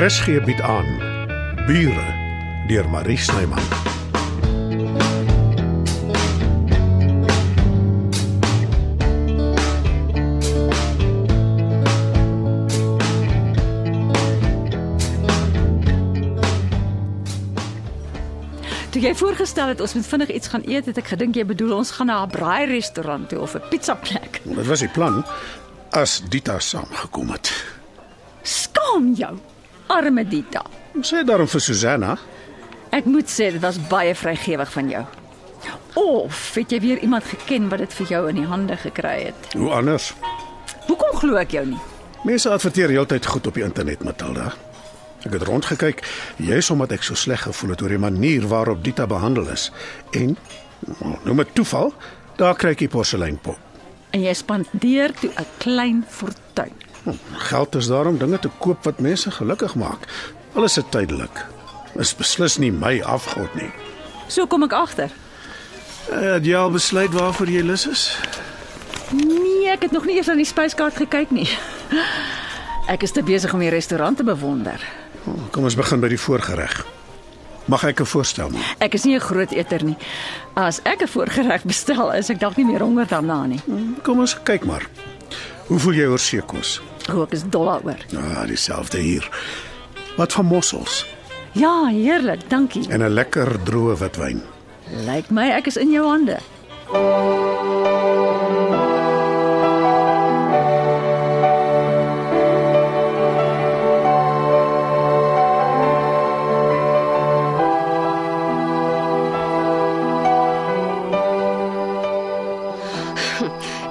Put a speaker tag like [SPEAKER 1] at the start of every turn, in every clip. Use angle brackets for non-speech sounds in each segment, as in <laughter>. [SPEAKER 1] RSG bied aan Bure deur Marie Snyman.
[SPEAKER 2] Toe jy voorgestel het ons moet vinnig iets gaan eet, het ek gedink jy bedoel ons gaan na 'n braai restaurant toe of 'n pizza plek.
[SPEAKER 1] Dit was die plan as Dita saamgekom het.
[SPEAKER 2] Skaam jou, arme Dita.
[SPEAKER 1] Ons sê daarom vir Susanna,
[SPEAKER 2] Ek moet sê dit was baie vrygewig van jou. Of het jy weer iemand geken wat dit vir jou in die hande gekry het?
[SPEAKER 1] hoe anders?
[SPEAKER 2] Hoekom glo ek jou nie?
[SPEAKER 1] Mense adverteer heeltyd goed op die internet, Matilda. Ek het rondgekyk, juis omdat ek so sleg gevoel het oor die manier waarop Dita behandel is en nou, noem dit toeval, daar kry ek die porseleinpop.
[SPEAKER 2] En jy spandeer toe 'n klein fortuin.
[SPEAKER 1] Hm, Geld is daarom dinge te koop wat mense gelukkig maak. Alles is tydelik. Is beslis nie my afgod nie.
[SPEAKER 2] So kom ek agter.
[SPEAKER 1] Uh, jy al besluit waarvoor jy lus is?
[SPEAKER 2] Nee, ek het nog nie eers aan die spyskaart gekyk nie. <laughs> Ek is te besig om die restaurant te bewonder.
[SPEAKER 1] Kom ons begin by die voorgereg. Mag ek 'n voorstel maak?
[SPEAKER 2] Ek is nie 'n groot eter nie. As ek 'n voorgereg bestel, is ek dalk nie meer honger daarna nie.
[SPEAKER 1] Kom ons kyk maar. Hoe voel jy oor seekos?
[SPEAKER 2] O, ek is dol daaroor.
[SPEAKER 1] Ah, dieselfde hier. Wat van mossels
[SPEAKER 2] Ja, heerlik, dankie.
[SPEAKER 1] en 'n lekker droë witwyn.
[SPEAKER 2] Lyk my ek is in jou hande.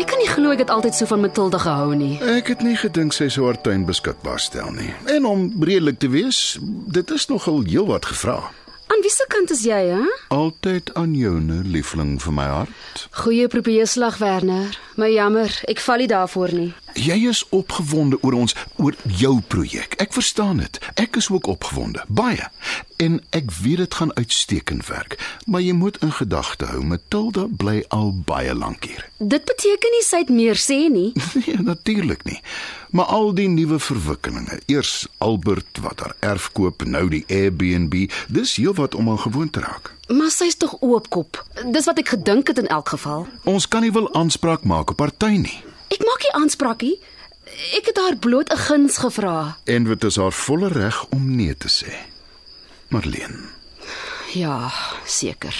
[SPEAKER 3] Ek kan nie glo ek het altyd so van Matilda gehou nie.
[SPEAKER 4] Ek het nie gedink sy sou haar tuin beskikbaar stel nie. En om redelik te wees, dit is nogal heelwat gevra.
[SPEAKER 3] Aan wiese kant is jy, hè?
[SPEAKER 4] Altyd aan joune, liefling vir my hart.
[SPEAKER 3] Goeie probeeslag Werner. My jammer, ek val nie daarvoor nie.
[SPEAKER 4] Jy is opgewonde oor ons, oor jou projek. Ek verstaan dit. Ek is ook opgewonde, baie. En ek weet dit gaan uitstekend werk, maar jy moet in gedagte hou, Matilda bly al baie lank hier.
[SPEAKER 3] Dit beteken nie sy het meer sê nie.
[SPEAKER 4] <laughs> Nee, natuurlik nie. Maar al die nuwe verwikkelinge, eers Albert wat haar erf koop, nou die Airbnb, dis heelwat om aan gewoon te raak.
[SPEAKER 3] Maar sy's tog oopkop. Dis wat ek gedink het in elk geval.
[SPEAKER 4] Ons kan nie wil aanspraak maak op party nie.
[SPEAKER 3] Ek maak nie aanspraakie. Ek het haar bloot 'n guns gevra.
[SPEAKER 4] En dit is haar volle reg om nee te sê. Marleen,
[SPEAKER 3] Ja, seker.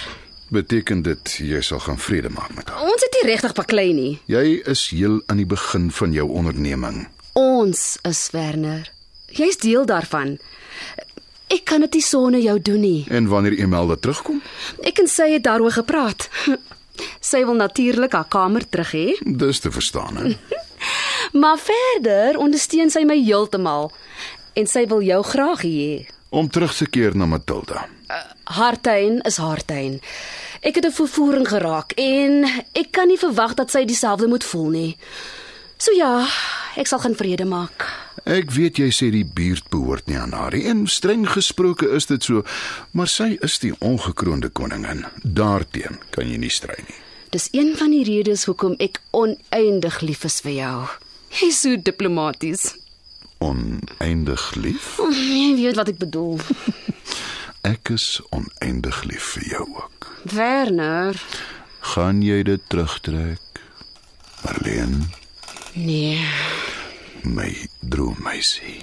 [SPEAKER 4] beteken dit jy sal gaan vrede maak met haar?
[SPEAKER 3] Ons het nie regtig baklei nie.
[SPEAKER 4] Jy is heel aan die begin van jou onderneming.
[SPEAKER 3] Ons is Werner. Jy's deel daarvan. Ek kan dit nie sonder jou doen nie.
[SPEAKER 4] En wanneer Imelda terugkom,
[SPEAKER 3] Ek en sy het daaroor gepraat. <laughs> Sy wil natuurlik haar kamer terug hê,
[SPEAKER 4] dis te verstaan, hè?
[SPEAKER 3] maar verder ondersteun sy my heeltemal en sy wil jou graag hier hê. Eh,
[SPEAKER 4] Om terug te keer na Matilda.
[SPEAKER 3] Haar tuin is haar tuin. Ek het 'n vervoering geraak en ek kan nie verwag dat sy dieselfde moet voel nie. So ja, ek sal gaan vrede maak.
[SPEAKER 4] Ek weet jy sê die buurt behoort nie aan haar nie en streng gesproke is dit so, maar sy is die ongekroonde koningin. Daarteen kan jy nie strei nie.
[SPEAKER 3] Dis een van die redes hoekom ek oneindig lief is vir jou. Jy's so diplomaties.
[SPEAKER 4] Oneindig lief?
[SPEAKER 3] Oh, jy weet wat ek bedoel.
[SPEAKER 4] Ek is oneindig lief vir jou ook.
[SPEAKER 3] Werner.
[SPEAKER 4] Gaan jy dit terugtrek? Marleen,
[SPEAKER 3] Nee.
[SPEAKER 4] my droommeisie.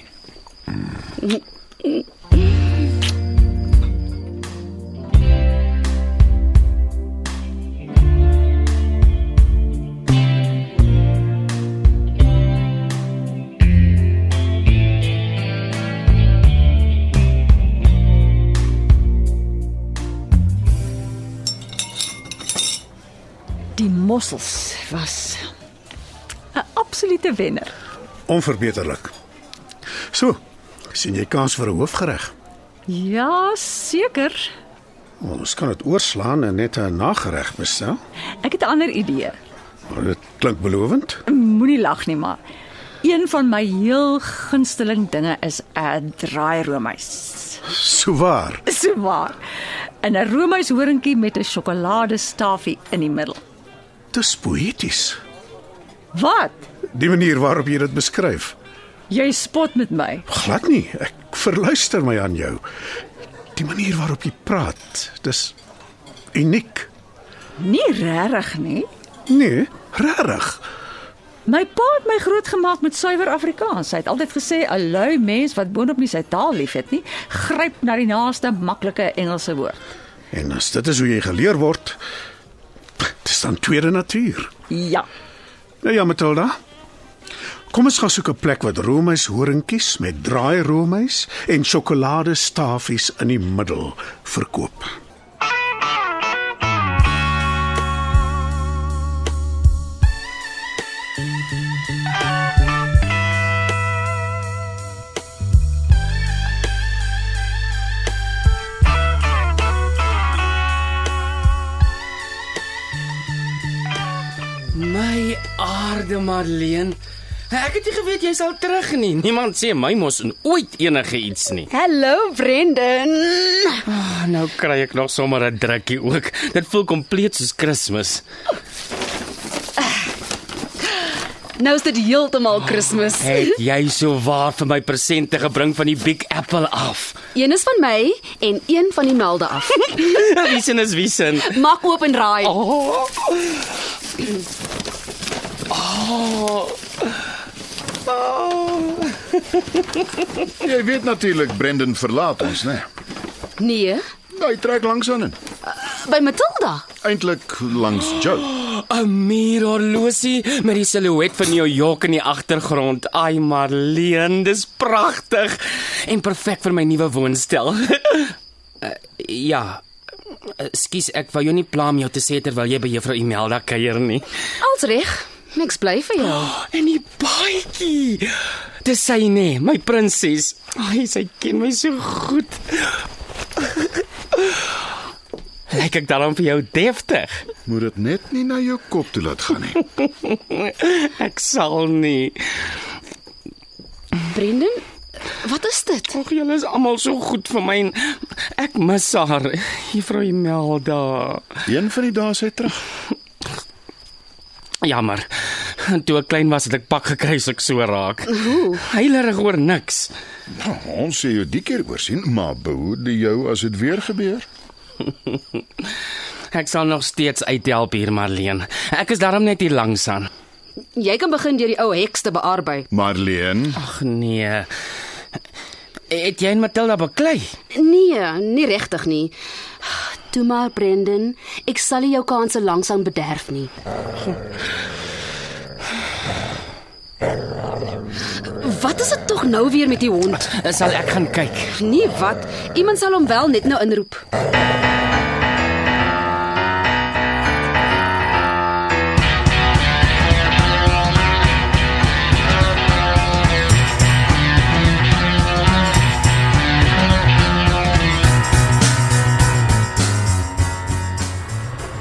[SPEAKER 2] Die mossels was 'n absolute wenner.
[SPEAKER 1] Onverbeterlik. So, sien jy kans vir 'n hoofgereg?
[SPEAKER 2] Ja, seker.
[SPEAKER 1] Ons kan dit oorslaan en net 'n nagereg bestel.
[SPEAKER 2] Ek het 'n ander idee.
[SPEAKER 1] Maar Dit klink belovend.
[SPEAKER 2] Moenie lag nie, maar een van my heel gunsteling dinge is 'n draai roomys.
[SPEAKER 1] Sou waar.
[SPEAKER 2] So waar. In 'n roomys horingkie met 'n sjokoladestaafie in die middel.
[SPEAKER 1] Dis poëties.
[SPEAKER 2] Wat?
[SPEAKER 1] Die manier waarop jy dit beskryf.
[SPEAKER 2] Jy spot met my.
[SPEAKER 1] Glad nie. Ek verluister my aan jou. Die manier waarop jy praat, dis uniek.
[SPEAKER 2] Nie regtig nie.
[SPEAKER 1] Nee, regtig.
[SPEAKER 2] My pa het my grootgemaak met suiwer Afrikaans. Hy het altyd gesê 'n lui mens wat boonop nie sy taal liefhet nie, gryp na die naaste maklike Engelse woord.
[SPEAKER 1] En as dit is hoe jy geleer word, dis dan tweede natuur.
[SPEAKER 2] Ja.
[SPEAKER 1] Nou ja, Matilda. Kom ons gaan soek 'n plek wat roomys horingkies met draai roomys en sjokoladestafies in die middel verkoop.
[SPEAKER 5] My aarde Marleen. Ek het nie geweet jy sal terug nie. Niemand sê my mos in ooit enige iets nie.
[SPEAKER 3] Hallo Brendan.
[SPEAKER 5] Ah, nou kry ek nog sommer 'n drukkie ook. Dit voel kompleet soos Kersfees.
[SPEAKER 3] Nou is dit heeltemal Kersfees.
[SPEAKER 5] <laughs> Het jy so waar vir my presente gebring van die Big Apple af?
[SPEAKER 3] Een is van my en een van die melde af.
[SPEAKER 5] Wie sin is wie sin?
[SPEAKER 3] Maak oop en raai.
[SPEAKER 5] Oh. Oh. Oh.
[SPEAKER 4] Jy weet natuurlik Brendan verlaat ons, né?
[SPEAKER 3] Nee,
[SPEAKER 4] Hy trek langs aan in.
[SPEAKER 3] by Matilda.
[SPEAKER 4] Eintlik langs Joe.
[SPEAKER 5] 'n Muurhorlosie met die silhouet van New York in die agtergrond. Ai Marleen, dis pragtig en perfek vir my nuwe woonstel. <laughs> uh, ja. Skus, ek wou jou nie pla om jou te sê terwyl jy by juffrou Imelda kuier nie.
[SPEAKER 3] Als reg. Niks bly vir jou.
[SPEAKER 5] Oh, En die baadjie. Dis sy nee, my prinses. Ai, sy ken my so goed. <laughs> Lyk ek daarom vir jou deftig?
[SPEAKER 4] Moet dit net nie na jou kop toe laat gaan <laughs> nie.
[SPEAKER 5] Ek sal nie.
[SPEAKER 3] Brendan, wat is dit?
[SPEAKER 5] Ag, julle is almal so goed vir my en ek mis haar, Juffrou Imelda.
[SPEAKER 4] Een van die dae is hy terug.
[SPEAKER 5] Jammer. Toe ek klein was het ek pak gekry as ek so raak. Heilerig oor niks.
[SPEAKER 4] Nou, ons sê jou die keer oor sien, maar behoede jou as dit weer gebeur.
[SPEAKER 5] Ek sal nog steeds uithelp hier, Marleen. Ek is daarom net hier langs aan.
[SPEAKER 3] Jy kan begin deur die ou heks te bearbei.
[SPEAKER 4] Marleen,
[SPEAKER 5] Ag nee. Het jy en Matilda beklei?
[SPEAKER 3] Nee, nie regtig nie. Toe maar Brendan, ek sal nie jou kanse langsaan bederf nie. Wat is dit tog nou weer met die hond?
[SPEAKER 5] Sal ek gaan kyk.
[SPEAKER 3] Nee, wat? Iemand sal hom wel net nou inroep.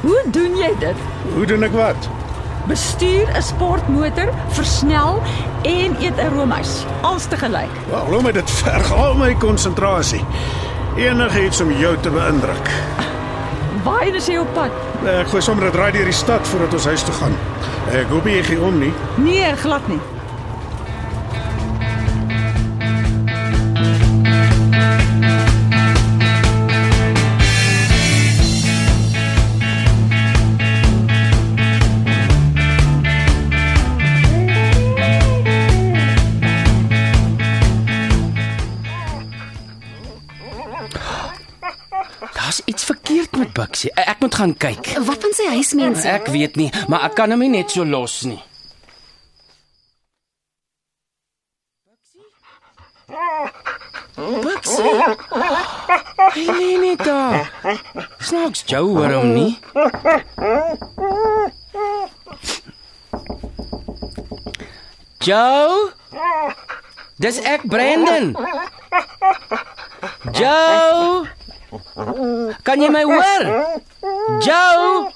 [SPEAKER 2] Hoe doen jy dit?
[SPEAKER 1] Hoe doen ek wat?
[SPEAKER 2] Bestuur 'n sportmotor, versnel en eet 'n roomys. Alles te gelyk.
[SPEAKER 1] Wel, glo my dit verg al my konsentrasie. Enigiets om jou te beïndruk.
[SPEAKER 2] Waarheen is jy op pad?
[SPEAKER 1] Eh, Ek gooi sommer 'n draai deur die stad voordat ons huis toe gaan. Ek hoop jy gee om nie.
[SPEAKER 2] Nee, glad nie.
[SPEAKER 5] Daar's iets verkeerd met Buxie. Ek moet gaan kyk.
[SPEAKER 3] Wat van sy huismense?
[SPEAKER 5] Ek weet nie, maar ek kan hom nie net so los nie. Buxie? Hy lê net daar. Snaaks jou hoor hom nie. Joe? Dis ek Brandon. Joe? Kan jy my hoor? Joe?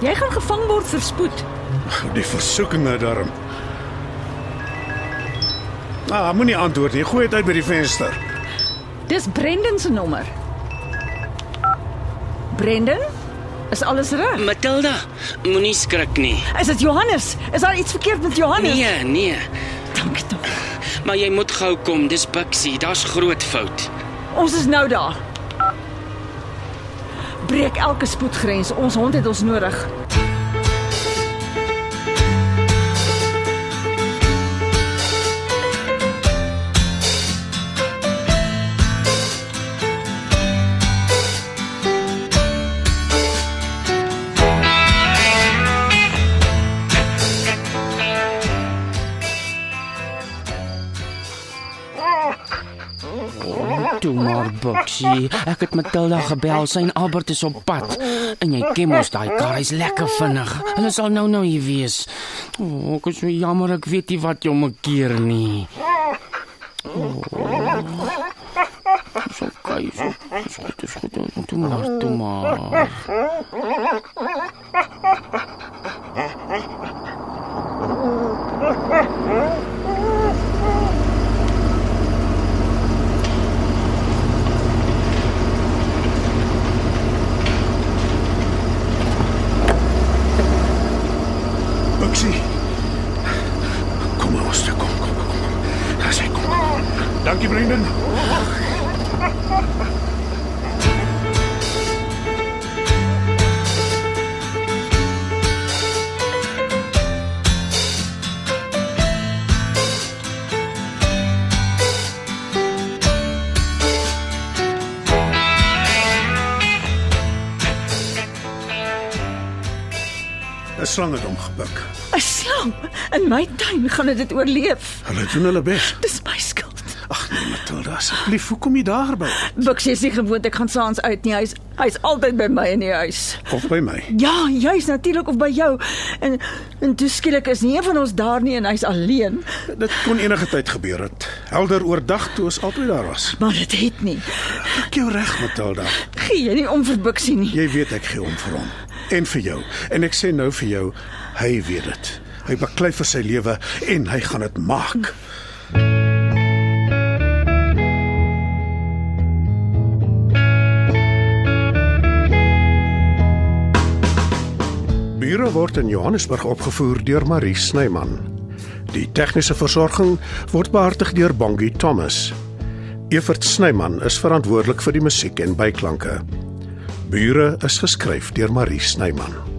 [SPEAKER 2] Jy gaan gevang word vir spoed.
[SPEAKER 1] Die versoekinge daarom. Ah, moenie antwoord nie. Gooi dit uit by die venster.
[SPEAKER 2] Dis Brendan se nommer. Brendan? Is alles reg?
[SPEAKER 5] Matilda, moenie skrik nie.
[SPEAKER 2] Is dit Johannes? Is daar iets verkeerd met Johannes?
[SPEAKER 5] Nee, nee,
[SPEAKER 2] dankie tog.
[SPEAKER 5] maar jy moet gou kom. Dis Bixie, daar's groot fout.
[SPEAKER 2] Ons is nou daar. Breek elke spoedgrens. Ons hond het ons nodig.
[SPEAKER 5] Toe maar Bixie, ek het Matilda gebel, sy en Albert is op pad. En jy ken mos daai kar, hy's lekker vinnig. Hulle sal nou nou hier wees. O, oh, ek is so jammer, ek weet nie wat jou maak keer nie. Oh, so kai, so, so dit is goed. Toe maar, toe maar.
[SPEAKER 1] Buxie. Kom maar, Oster, kom, kom, kom. Daar sy kom. Dankie Brendan. Dis slang het hom gebuk.
[SPEAKER 2] 'n Slang in my tuin gaan dit dit oorleef.
[SPEAKER 1] Hulle doen hulle bes.
[SPEAKER 2] Dis my skuld.
[SPEAKER 1] Ag nee, Matilda, asseblief, hoekom jy daarby?
[SPEAKER 2] Bixie is nie gewoond ek gaan saans uit nie. Hy's hy's altyd by my in die huis.
[SPEAKER 1] Of by my?
[SPEAKER 2] Ja, juis natuurlik of by jou. En en toe skielik is nie een van ons daar nie en hy's alleen.
[SPEAKER 1] Dit kon enige tyd gebeur het. Helder oordag toe ons altyd daar was.
[SPEAKER 2] Maar dit het nie.
[SPEAKER 1] Ek jou reg, Matilda.
[SPEAKER 2] Gee jy nie om vir Bixie nie.
[SPEAKER 1] Jy weet ek gee om vir hom en vir jou. En ek sê nou vir jou, hy weet dit. Hy beklei vir sy lewe en hy gaan dit maak. Bure word in Johannesburg opgevoer deur Marie Snyman. Die tegniese versorging word behartig deur Bongie Thomas. Evert Snyman is verantwoordelik vir die musiek en byklanke. Bure is geskryf deur Marie Snyman.